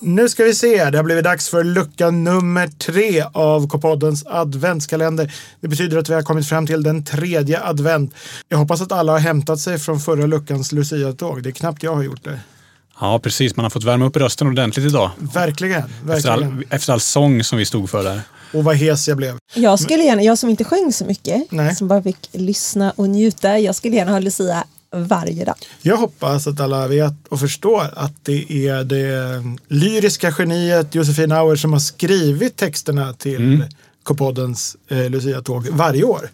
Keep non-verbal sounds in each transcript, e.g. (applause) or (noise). Nu ska vi se. Det har blivit dags för lucka nummer tre av K-poddens adventskalender. Det betyder att vi har kommit fram till den tredje advent. Jag hoppas att alla har hämtat sig från förra luckans Lucia-tåg. Det är knappt jag har gjort det. Ja, precis. Man har fått värma upp rösten ordentligt idag. Verkligen. Efter all, verkligen. efter all sång som vi stod för där. Och vad hes jag blev. Jag skulle gärna, jag som inte sjöng så mycket, Nej. som bara fick lyssna och njuta, jag skulle gärna ha Lucia varje dag. Jag hoppas att alla vet och förstår att det är det lyriska geniet Josefin Auer som har skrivit texterna till Mm. K-poddens eh, Lucia-tåg varje år.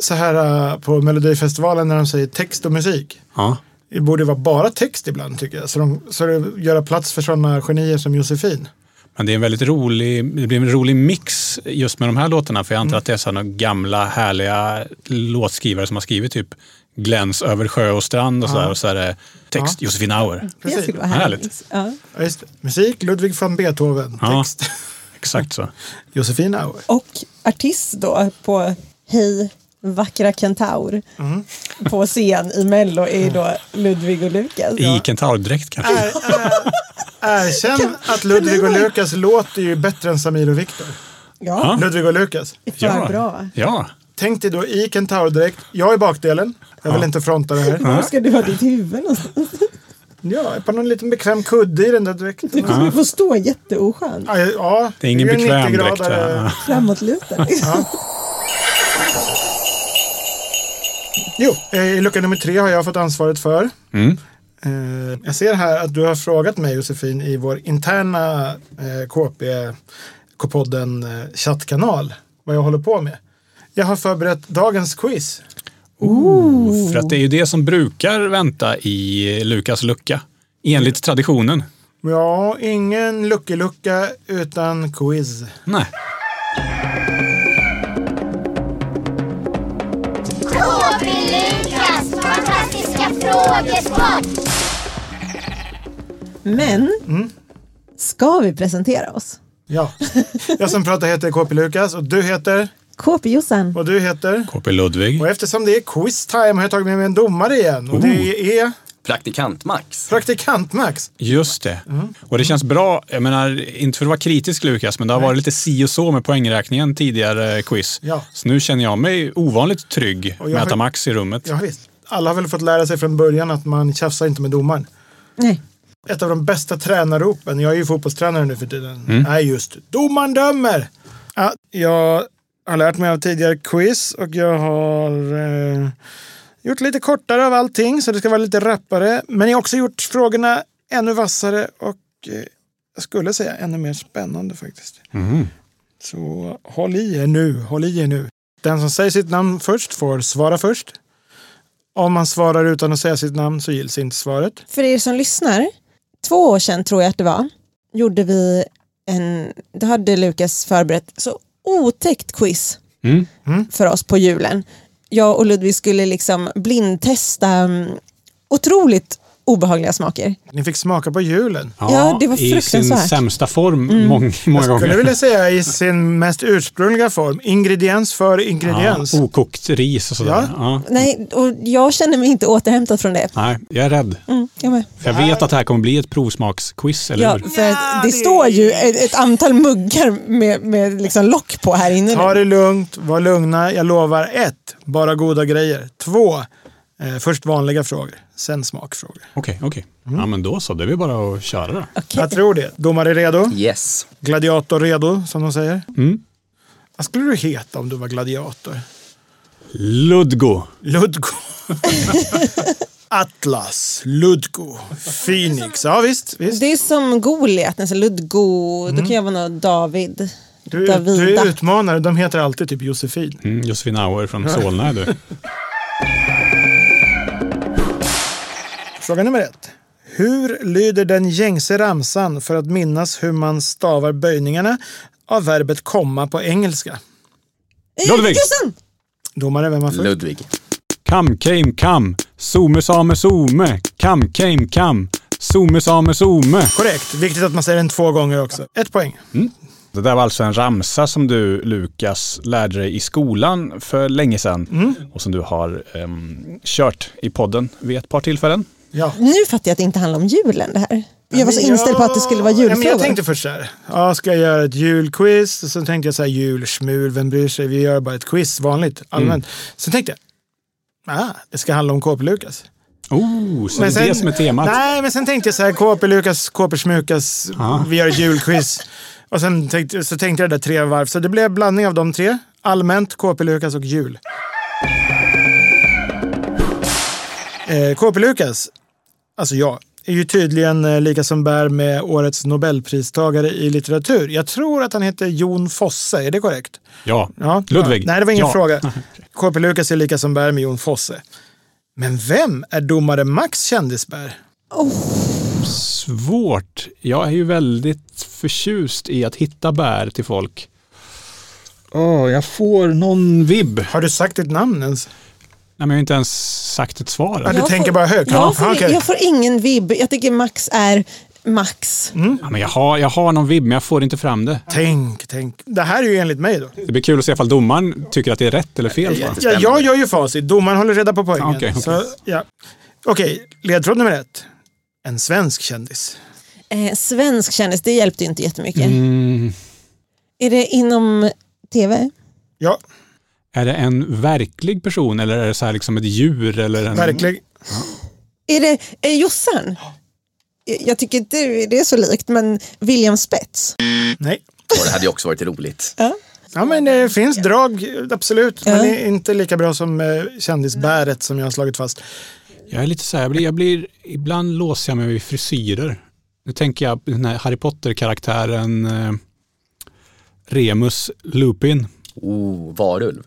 Så här eh, på Melodifestivalen när de säger text och musik. Ja. Det borde vara bara text ibland tycker jag. Så, de, så det göra plats för sådana genier som Josefin. Men det är en väldigt rolig, det blir en rolig mix just med de här låtarna. För jag antar att det är sådana gamla härliga låtskrivare som har skrivit typ Gläns över sjö och strand och sådär. Och så är det text Josefin Auer. Precis. Det skulle vara Härligt. härligt. Ja. Ja, just det. Musik Ludwig van Beethoven. Ja. Text (laughs) Exakt så. Josefin Auer. Och artist då på Hej vackra kentaur Mm. på scen i Mello är ju då Ludvig och Lukas. I kentaurdräkt kanske. Er, er, erkänn att kan Ludvig du och vara- Lukas låter ju bättre än Samir och Viktor. Ja, Ludvig och Lukas. för bra. Ja. Tänk dig då i kentaurdräkt. Jag är bakdelen. Jag vill inte fronta det (laughs) här. Var ska du ha ditt huvud någonstans? Ja, på någon liten bekväm kudde i den där Du dräkten. kommer få stå jätteoskönt. Ja, ja, Det är ingen ju en bekväm 90-gradare. dräkt. tror jag. Ja. Framåtlutad. liksom. Jo, eh, i lucka nummer tre har jag fått ansvaret för. Mm. Eh, Jag ser här att du har frågat mig Josefin i vår interna eh, KP, K-podden eh, chattkanal vad jag håller på med. Jag har förberett dagens quiz. För att det är ju det som brukar vänta i Lukas lucka. Enligt traditionen. Ja, ingen luckelucka utan quiz. Nej. KB Lukas fantastiska frågesport! Men Mm. ska vi presentera oss? Ja, jag som pratar heter KP Lukas och du heter KP-Jossan, och du heter. KP Ludvig. Och eftersom det är quiz time har jag tagit med mig en domare igen och det är Praktikant Max. praktikant Max. Just det. Mm. Och det känns bra, jag menar, inte för att vara kritisk Lukas, men det har varit lite si och så med poängräkningen tidigare eh, quiz. Ja. Så nu känner jag mig ovanligt trygg Och jag med att har- ha Max i rummet. Ja, visst. Alla har väl fått lära sig från början att man tjafsar inte med domaren. nej, ett av de bästa tränarropen, jag är ju fotbollstränare nu för tiden, är just domaren dömer. Ja, jag har lärt mig av tidigare quiz och jag har eh, gjort lite kortare av allting så det ska vara lite rappare. Men jag har också gjort frågorna ännu vassare och eh, jag skulle säga ännu mer spännande faktiskt. Så håll i er nu, håll i er nu. Den som säger sitt namn först får svara först. Om man svarar utan att säga sitt namn så gills inte svaret. för er som lyssnar, två år sedan tror jag att det var, gjorde vi en, då hade Lukas förberett så otäckt quiz Mm. för oss på julen. Jag och Ludvig skulle liksom blindtesta mm, otroligt obehagliga smaker. Ni fick smaka på julen. Ja, det var I sin fruktansvärt. Mm. sämsta form många, många Skulle gånger. jag vilja säga i sin mest ursprungliga form. Ingrediens för ingrediens. Ja, okokt ris och sådär. Ja. Nej, och jag känner mig inte återhämtad från det. Nej, jag är rädd. Mm, jag med. För jag vet att det här kommer bli ett provsmaksquiz, eller Ja, hur? för att det står ju ett, ett antal muggar med, med liksom lock på här inne. Ta nu. det lugnt, var lugna. Jag lovar ett, Bara goda grejer. Två, Eh, först vanliga frågor, sen smakfrågor. Okej, okej. Mm. Ja, men då så. Det är väl bara att köra då. Okej. Jag tror det. Domare redo? Yes. Gladiator redo, som de säger. Mm. Vad skulle du heta om du var gladiator? Ludgo. Ludgo. Atlas, Ludgo, Phoenix. Ja visst, visst. Det är som Goliat, nästan Ludgo, Mm. då kan jag vara någon David. Du, är- Davida. du är utmanare. De heter alltid typ Josefin. Mm, Josefin Auer från Solna är (laughs) du. Fråga nummer ett. Hur lyder den gängse ramsan för att minnas hur man stavar böjningarna av verbet komma på engelska? Eh, Ludvig! Jossan! Domare, vem har först? Ludvig. Kam, came, kam. Some, same, some. Kam, came, kam. Some, same, some. Korrekt. Viktigt att man säger den två gånger också. Ett poäng. Det där var alltså en ramsa som du, Lukas, lärde dig i skolan för länge sedan Mm. och som du har ehm, kört i podden vid ett par tillfällen. Ja. Nu fattar jag att det inte handlar om julen det här. jag var så Men inställd på att det skulle vara Ja, men julfrågor. jag tänkte först så här. Ja, ska jag göra ett julquiz? Och sen tänkte jag så här, julsmul, vem bryr sig? Vi gör bara ett quiz, vanligt, allmänt. Sen tänkte jag, ah, det ska handla om KP Lukas. Oh, så det är det som är temat. Nej, men sen tänkte jag så här, KP Lukas, KP Smukas, Ja. vi gör ett (laughs) julquiz. Och sen tänkte, så tänkte jag det där tre varv, så det blev en blandning av de tre. Allmänt, KP Lukas och jul. Eh, KP Lukas, alltså jag, är ju tydligen eh, lika som bär med årets nobelpristagare i litteratur. Jag tror att han heter Jon Fosse, är det korrekt? Ja. Ja. Ludvig. Ja. Nej, det var ingen ja. (laughs) fråga. KP Lukas är lika som bär med Jon Fosse. Men vem är domare Max kändisbär? Svårt. Jag är ju väldigt förtjust i att hitta bär till folk. Åh, jag får någon vibb. Nej, Har du sagt ditt namn ens? men jag har inte ens sagt ett svar. Ja, än. du Jag tänker får- bara högt? Jag, får, okej. jag får ingen vibb. Jag tycker Max är Max. Mm. Ja, men jag, har, jag har någon vibb, men jag får inte fram det. Tänk, tänk. Det här är ju enligt mig då. Det blir kul att se ifall domaren tycker att det är rätt eller fel. va? Ja, jag gör ju facit. Domaren håller reda på poängen. Ja, okej, okej. Så, ja. Okej, ledtråd nummer ett. En svensk kändis. Eh, svensk kändis, det hjälpte ju inte jättemycket. Mm. Är det inom tv? Ja, Är det en verklig person eller är det så här liksom ett djur? Eller en... verkligen. Är det eh, Jossan? Jag- Jag tycker inte det är så likt, men William Spets. Nej. Och det hade ju också varit roligt. Ja, men det finns drag, absolut. Men Ja. det är inte lika bra som eh, kändisbäret som jag har slagit fast. Jag är lite så här, jag blir, jag blir, ibland låser jag mig vid frisyrer. Nu tänker jag på den här Harry Potter-karaktären eh, Remus Lupin. Oh, varulv.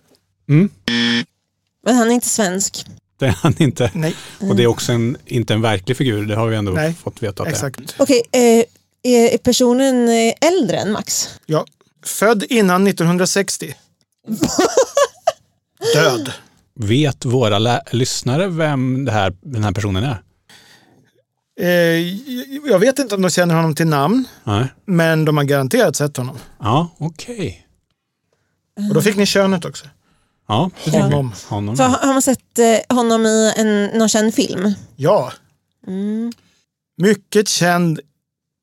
Men han är inte svensk. Det är han inte. Nej, Och det är också en, inte en verklig figur, det har vi ändå Nej, fått veta att det är. exakt. Okej, eh, är personen eh, äldre än Max? Ja. Född innan (laughs) 1960. Död. Vet våra lä- lyssnare vem det här, den här personen är? Eh, j- jag vet inte om de känner honom till namn, Nej. men de har garanterat sett honom. Ja, okej. Och då fick ni könet också. Ja, det tycker Honom. jag. Honom. För har har man sett eh, honom i en, någon känd film? Ja. Mm. Mycket känd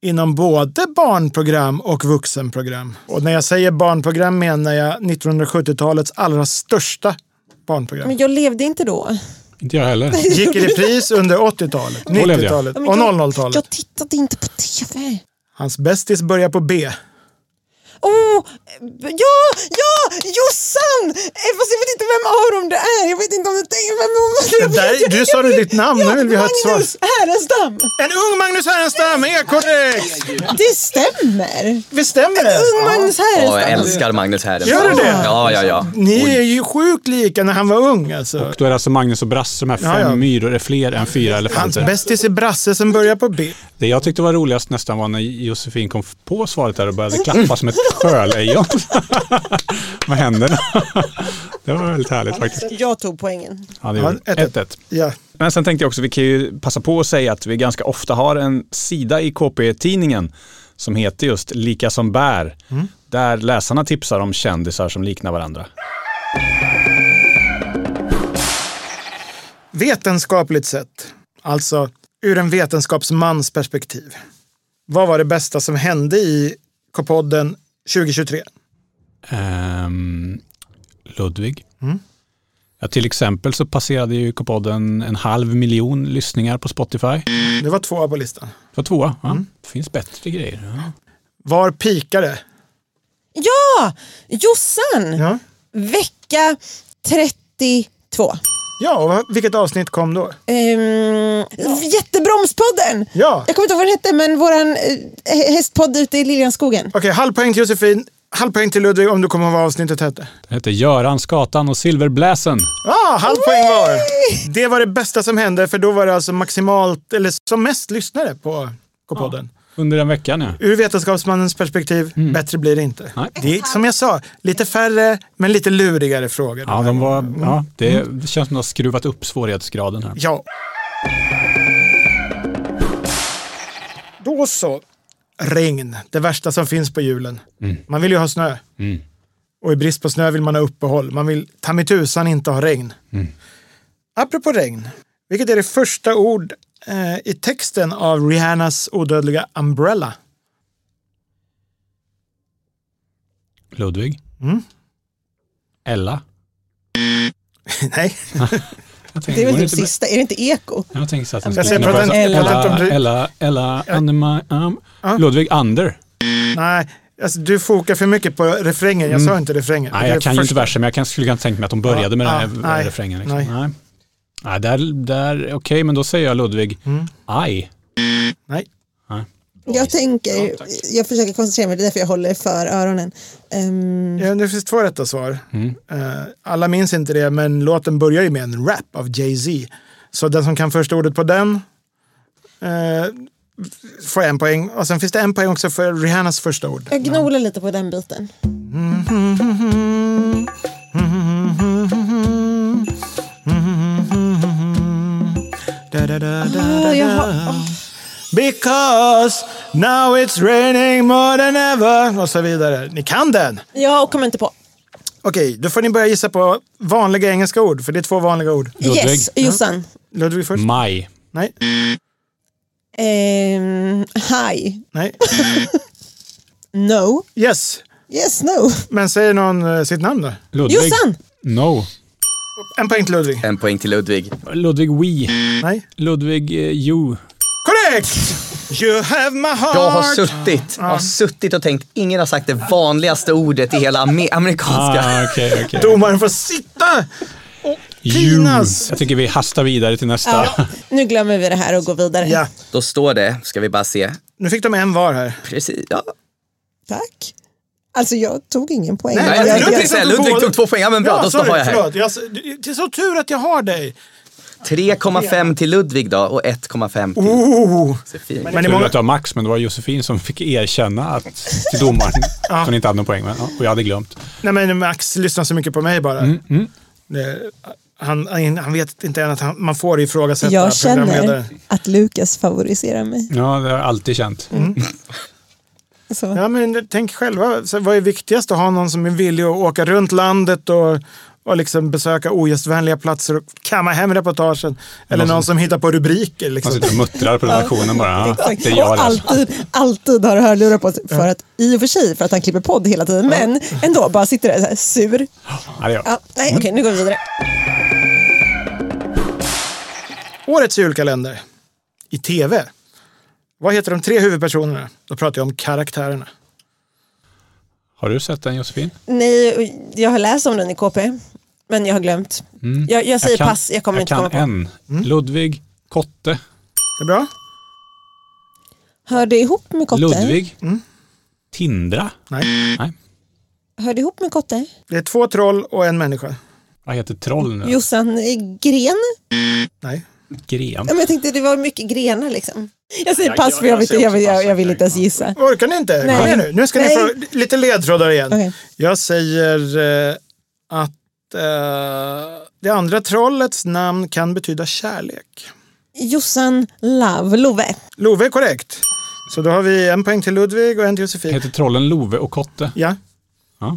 inom både barnprogram och vuxenprogram. Och när jag säger barnprogram menar jag 1970-talets allra största Men barnprogram. jag levde inte då. Inte jag heller. Gick i repris (laughs) under 80-talet, levde jag. 90-talet och Men jag- 00-talet. Jag tittade inte på tv. Hans bästis börjar på B. Oh, ja, ja, Jossan! Eh, Fast jag vet inte vem av dem det är. Jag vet inte om det är... Vem, Det där, du sa du ditt namn, nu vill vi ha ett svar. Magnus Härenstam! En ung Magnus Härenstam är korrekt! Det stämmer! Visst stämmer det? Ung Magnus Ja, jag Härenstam! älskar Magnus Härenstam. Gör du det? Ja, ja, ja. Ni är ju sjukt lika när han var ung alltså. Då är det alltså Magnus och Brasse, de här fem Ja, ja. myror, är fler än fyra Hans elefanter. bästis är Brasse som börjar på B. Det jag tyckte var roligast nästan var när Josefin kom på svaret där och började klappa som ett sjölejon. (laughs) Vad händer? (laughs) det var väldigt härligt faktiskt. Jag tog poängen. Ja, det Ja, gjorde ett, ett. 1-1. Ja. Men sen tänkte jag också, vi kan ju passa på att säga att vi ganska ofta har en sida i KP-tidningen som heter just Lika som bär, Mm. där läsarna tipsar om kändisar som liknar varandra. Vetenskapligt sett, alltså ur en vetenskapsmans perspektiv. Vad var det bästa som hände i K-podden 2023? Ehm, Ludvig. Mm. Ja, till exempel så passerade ju K-podden en halv miljon lyssningar på Spotify. Det var två på listan. Det var tvåa. Ja. Mm. Det finns bättre grejer. Ja. Var pikade? Ja! Jossan! Ja. Vecka 32. Ja, och vad- vilket avsnitt kom då? Ehm, Jättebromspodden! Ja, Jag kommer inte ihåg vad den hette, men våran eh, hästpodd ute i Liljanskogen. okej, halv poäng till Josefin, halv poäng till Ludvig om du kommer ihåg vad avsnittet hette. Den heter Göran, Skatan och Silverbläsen. Ja, ah, halv poäng var. Det var det bästa som hände, för då var det alltså maximalt, eller som mest lyssnare på K-podden. Under den veckan ja. Ur vetenskapsmannens perspektiv, bättre blir det inte. Nej. Det är som jag sa, lite färre men lite lurigare frågor. Ja, de var, Mm. ja det, Mm. det känns som att de har skruvat upp svårighetsgraden här. Ja. Då så. Regn, det värsta som finns på julen. Mm. Man vill ju ha snö. Och i brist på snö vill man ha uppehåll. Man vill ta Mm. mig tusan inte ha regn. Apropå regn, vilket är det första ord eh, i texten av Rihannas odödliga Umbrella? (laughs) Ludvig? Mm. Ella? Nej, Mm. Jag Det tänkte, är väl borde typ inte- sista, är det inte eko? Jag tänkte så att den Jag skulle ser kunna patent- vara så- patent- Ella, Ella, Ella, Anima, um, Ja. Ludvig Ander. nej. Alltså, du fokar för mycket på refrängen. Jag sa inte refrängen. Mm. Nej, Det är jag kan ju inte första- versen, men jag kan, skulle kunna tänka mig att de började med Ja, den ja, här nej, refrängen. Liksom. nej. Nej. Nej. där, där, Okej, men då säger jag Ludvig. Aj. Nej. Jag tänker, jag försöker koncentrera mig, det är därför jag håller för öronen. Ehm, Ja, det finns två rätta svar. Eh, alla minns inte det, men låten börjar ju med en rap av Jay-Z. Så den som kan första ordet på den eh, får en poäng. Och sen finns det en poäng också för Rihannas första ord. jag gnolar lite på den biten. Da, da, da, da, Ah, da, jag da. har- ah. Because now it's raining more than ever. Och så vidare. Ni kan den! Jag kommer inte på. Okej, då får ni börja gissa på vanliga engelska ord, för det är två vanliga ord. Ludvig. Yes, Jossan. Ludvig först? Maj. Nej. Ehm, hi. Nej. No. Yes. Yes, no. Men säger någon eh, sitt namn då? Ludvig. Jossan! No. En poäng till Ludvig. En poäng till Ludvig. Ludvig We. Nej. Ludvig eh, You. Korrekt! You have my heart! Jag har suttit, har suttit och tänkt, ingen har sagt det vanligaste ordet i hela ame- amerikanska. Ah, okej, (laughs) okej. Domaren får sitta! You. Pinas. Jag tycker vi hastar vidare till nästa. Ja, nu glömmer vi det här och går vidare. Ja, Då står det, ska vi bara se, nu fick de en var här. precis, ja. Tack. Alltså jag tog ingen poäng. Nej, Nej, jag- Ludvig, jag- säger, Ludvig tog två poäng, ja men bra, då står sorry, har jag här. förlåt. Jag, det är så tur att jag har dig! 3,5 till Ludvig då och 1,5 till Oh. Josefin. Men det är Tur många... att det var Max, men det var Josefin som fick erkänna att, till domaren att hon inte hade någon poäng. Men, ja, och jag Mm, hade glömt. Nej men Max lyssnar så mycket på mig bara. Det, han, han- han vet inte än att han, man får ifrågasätta Jag känner programledaren. att Lukas favoriserar mig. Alltså, Ja, det har jag alltid känt. Så. Ja, men tänk själva, så vad är viktigast? Att ha någon som är villig att åka runt landet och, och liksom besöka ogästvänliga platser och kamma hem reportagen. Eller någon som hittar på rubriker. Man Liksom. sitter och muttrar på redaktionen bara. Ja, Exakt. det är jag och det. alltid, alltid har hörlurar på sig. För att, I och för sig för att han klipper podd hela tiden, men ändå bara sitter där så här, sur. Ja, det är jag. Ja, nej, okej, nu går vi vidare. Årets julkalender i tv. Vad heter de tre huvudpersonerna? Då pratar jag om karaktärerna. Har du sett den Josefin? Nej, och jag har läst om den i KP, men jag har glömt. Jag, jag säger pass, jag kommer inte Mm. kan komma på. en. Mm. Ludvig Kotte. Det är bra? Hör det ihop med kotte? Ludvig. Tindra. Mm. Nej. Nej. Hör det ihop med kotte? Det är två troll och en människa. Vad heter troll nu? Jossan eh, Gren? Nej. Gren. Ja, men jag tänkte det var mycket grenar liksom. Jag säger pass för jag, vet, jag, jag, jag vill inte ens gissa. Orkar ni inte? Kom Nej. igen nu. Nu ska Nej. ni få lite ledtrådar igen. Okej. Jag säger eh, att eh, det andra trollets namn kan betyda kärlek. Jossan Love, Love. Love är korrekt. Så då har vi en poäng till Ludvig och en till Josefin. Heter trollen Love och Kotte? Ja. Ja.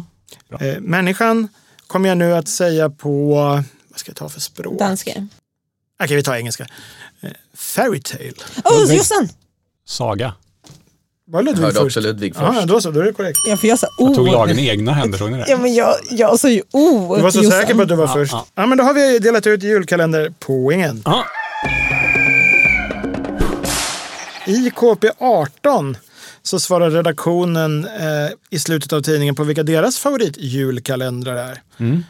Eh, människan kommer jag nu att säga på, vad ska jag ta för språk? Danske. Okej, vi tar engelska. Eh, fairytale. Oh, Ludvig. Jossan! Saga. Var Ludvig Jag hörde först? också Ludvig först. Ja, då så, då är det korrekt. Ja, för jag sa Jag tog oh. lagen i egna händer, såg ni Ja, det? men jag, jag sa ju oh. Du var så till säker på att du var först. ja. Ja, men då har vi delat ut julkalenderpoängen. Ja. I KP18 så svarar redaktionen eh, i slutet av tidningen på vilka deras favoritjulkalendrar är. Mm.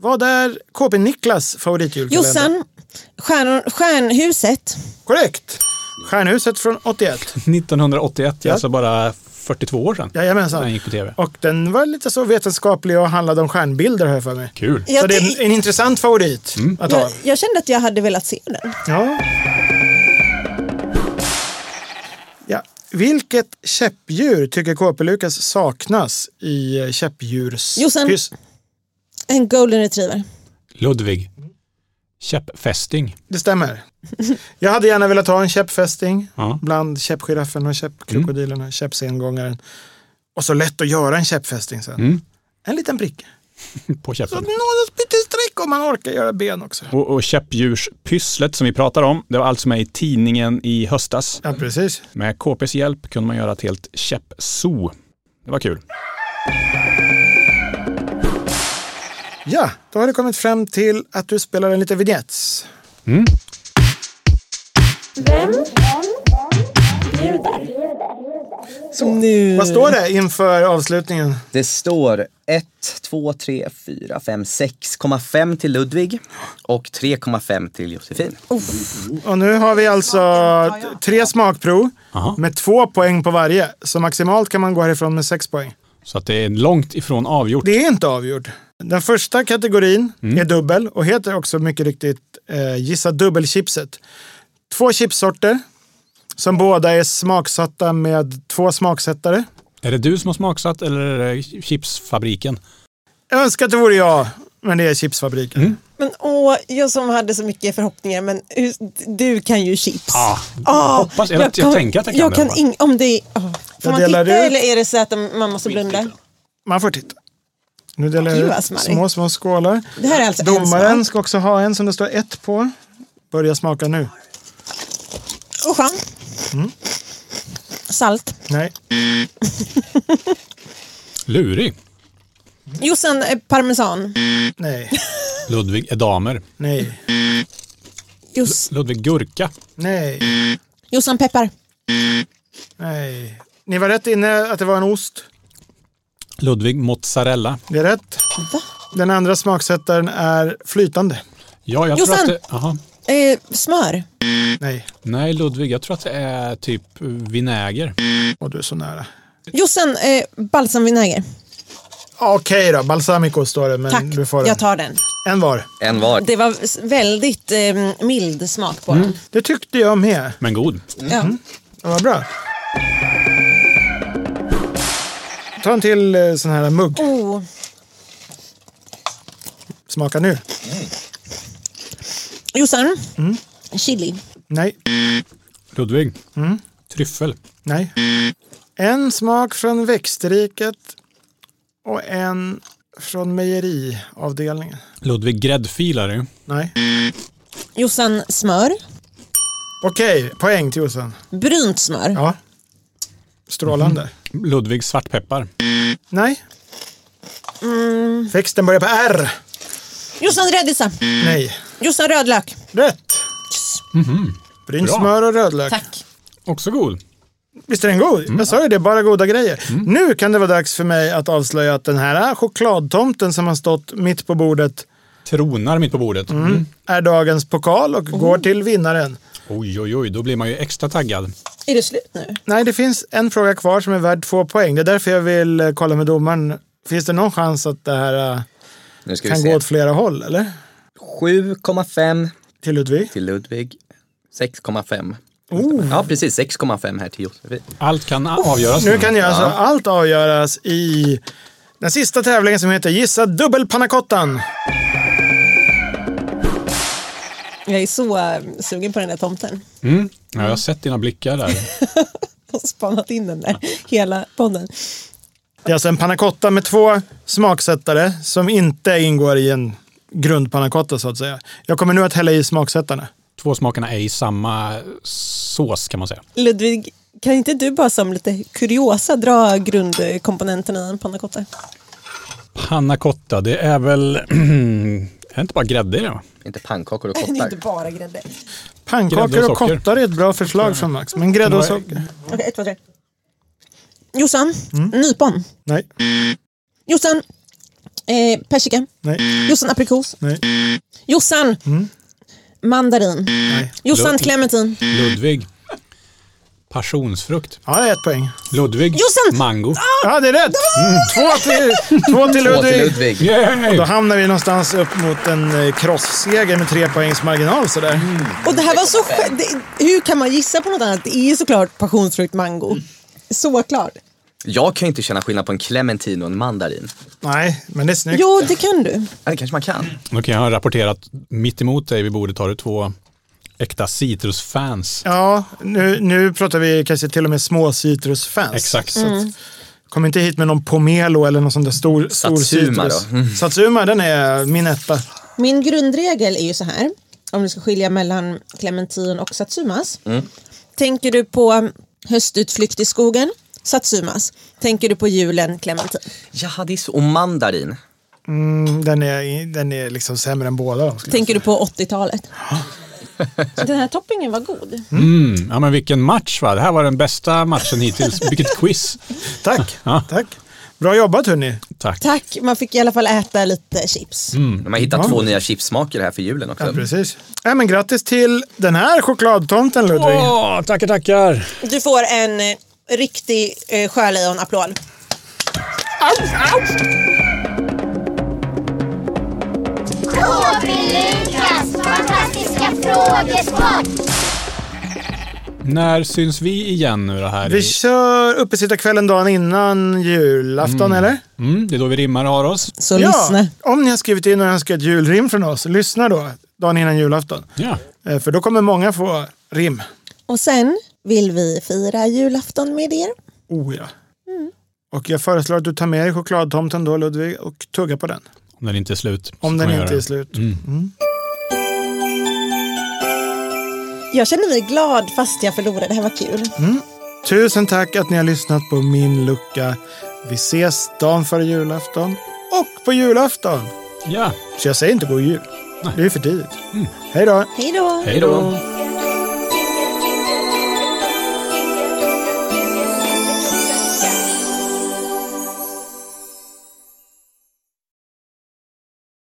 Vad är KP Niklas favoritjulkalender? Jossan, stjärnor, Stjärnhuset. Korrekt! Stjärnhuset från 81. 1981, Ja. alltså bara 42 år sedan. när Den Jajamensan. gick på tv. Och den var lite så vetenskaplig och handlade om stjärnbilder har jag för mig. Kul. Så Jag, det är tänk- en, en intressant favorit att ha. jag, jag kände att jag hade velat se den. Ja. Ja. Vilket käppdjur tycker KP-Lukas saknas i eh, käppdjurs... Jossan. Pys- En golden retriever. Ludvig. Käppfästing. Det stämmer. Jag hade gärna velat ha en käppfästing Ja. bland käppgiraffen och käppkrokodilerna, käppsengångaren. Och så lätt att göra en käppfästing sen. En liten pricka. på käften. Något litet streck om man orkar göra ben också. Och, och käppdjurspysslet som vi pratar om, det var alltså med i tidningen i höstas. Ja, precis. Med KPs hjälp kunde man göra ett helt käppzoo. Det var kul. Ja, då har du kommit fram till att du spelar en liten vignett. Nu. Vad står det inför avslutningen? Det står 1, 2, 3, 4, 5, 6,5 till Ludvig och 3,5 till Josefin. Och nu har vi alltså tre smakprov Aha. med två poäng på varje. Så maximalt kan man gå härifrån med sex poäng. Så att det är långt ifrån avgjort. Det är inte avgjord. Den första kategorin är dubbel och heter också mycket riktigt eh, Gissa dubbelchipset. Två chipssorter som båda är smaksatta med två smaksättare. Är det du som har smaksatt eller är det chipsfabriken? Jag önskar att det vore jag, men det är chipsfabriken. Men åh, jag som hade så mycket förhoppningar, men hus- du kan ju chips. Ah, Ah, hoppas, jag, jag, kan- tänker att jag kan det. kan bara. ing- om det är, ah. Jag Får man titta delar ut. eller är det så att de- man måste blunda? Man får titta. Nu delar Gud, jag vad ut smarrig. små, små skålar. Det här är alltså en Domaren smak. ska också ha en som det står ett på. Börja smaka nu. Usch. Mm. Salt. Nej, Lurig. Jossan, eh, parmesan. nej, Ludvig eh, Edamer. nej, Jos, Ludvig Gurka. nej, Jossan, peppar. nej. Ni var rätt inne att det var en ost. Ludvig Mozzarella. Det är rätt. Va? Den andra smaksättaren är flytande. Ja, jag tror Jossan! att det, aha. Eh, smör. Nej, Nej, Ludvig, jag tror att det är typ vinäger. och du är så nära. Jossan, eh, balsamvinäger. Okej då, balsamico står det, men Tack, Mm, du får den. jag tar den. En var. En var. Det var s- väldigt eh, mild smak på den. Det tyckte jag med. Men god. Mm. Ja. Det var bra. Ta en till eh, sån här mugg. Oh, Smaka nu. Jossan, Mm. chili. Nej, Ludvig. Tryffel. nej. En smak från växtriket och en från mejeriavdelningen. Ludvig Gräddfilare. Nej. Jossan, smör. Okej, poäng till Jossan. Brunt smör. Ja. Strålande. Ludvig Svartpeppar. Nej. Växten börjar på R. Jossan, rädisa. Nej. Jossan, rödlök. Rätt. Brynt Bra. smör och rödlök. Tack. Också god. Visst är den god? Mm. Jag sa ju det, bara goda grejer. Nu kan det vara dags för mig att avslöja att den här chokladtomten som har stått mitt på bordet Tronar mitt på bordet. Mm. är dagens pokal och går till vinnaren. Oj, oj, oj, då blir man ju extra taggad. Är det slut nu? Nej, det finns en fråga kvar som är värd två poäng. Det är därför jag vill eh, kolla med domaren. Finns det någon chans att det här eh, Nu ska vi kan gå se. åt flera håll, eller? 7,5 Till Ludvig? till Ludvig. 6,5. Oh. Ja, precis. 6,5 här till Josefin. Allt kan avgöras Nu kan ju alltså allt avgöras i den sista tävlingen som heter Gissa dubbelpannacottan. Jag är så eh, sugen på den där tomten. Mm. Ja, jag har sett dina blickar där. Jag har spanat in den där hela podden. Det är alltså en pannacotta med två smaksättare som inte ingår i en grundpannacotta så att säga. Jag kommer nu att hälla i smaksättarna. Två smakerna är i samma sås kan man säga. Ludvig, kan inte du bara som lite kuriosa dra grundkomponenterna i en pannacotta? Panna cotta, det är väl... (clears throat) är det inte bara grädde i det? va? Inte pannkakor och Det är inte kottar. bara grädde. Grädde och Pannkakor och socker. kottar är ett bra förslag från Max, men grädde och socker? Okej, ett, två, tre. Jossan, nypon. Nej, Jossan, eh, persika. nej, Jossan, aprikos. nej, Jossan, mandarin. nej. Jossan, Lugnt. clementin. Ludvig. Passionsfrukt. Ja, det är ett poäng. Ludvig. Jossan! Mango. Ja, det är rätt! Två till, två till Två till Ludvig. Ludvig. Yay! Då hamnar vi någonstans upp mot en eh, krossseger med tre poängs marginal sådär. Och det här var så skönt. Det- Hur kan man gissa på något annat? Det är ju såklart passionsfrukt mango. Så klart. Jag kan ju inte känna skillnad på en clementin och en mandarin. Nej, men det är snyggt. Jo, det kan du. Ja, det kanske man kan. Okej, jag har rapporterat mitt emot dig vid bordet har du två äkta citrusfans. Ja, nu, nu pratar vi kanske till och med små citrusfans. Exakt. Så att Kom inte hit med någon pomelo eller någon sån där stor, stor Satsuma då. citrus. Satsuma, den är min etta. Min grundregel är ju så här, om du ska skilja mellan clementin och satsumas. Tänker du på höstutflykt i skogen? Satsumas. Tänker du på julen? Clementin. Ja, det är så. Och mandarin. Mm, den, är, den är liksom sämre än båda. de skulle jag Tänker du på 80-talet? Den här toppingen var god. Mm. Ja, men vilken match va? Det här var den bästa matchen hittills. Vilket quiz. säga. (laughs) Tack, tack. Bra jobbat hörni. Tack. Tack, man fick i alla fall äta lite chips. De har hittat två nya chipssmaker här för julen också. Ja, precis. Ja, men grattis till den här chokladtomten Ludvig. Åh, tackar, tackar. Du får en eh, riktig eh, sjölejonapplåd. KB Lukas fantastiska frågesport. När syns vi igen nu då här? Vi i- kör uppesittarkvällen dagen innan julafton eller? Mm, det är då vi rimmar och har oss. Så lyssna. om ni har skrivit in och önskat julrim från oss, lyssna då dagen innan julafton. Ja. Eh, För då kommer många få rim. Och sen vill vi fira julafton med er. Oh ja. Och jag föreslår att du tar med dig chokladtomten då Ludvig och tuggar på den. Om den inte är slut. så Om får den man inte göra. Mm. är slut. Jag känner mig glad fast jag förlorade. Det här var kul. Tusen tack att ni har lyssnat på Min lucka. Vi ses dagen före julafton och på julafton. Ja, Mm. Så jag säger inte god jul. Det är ju för tidigt. Hej då! Hej då! hej då.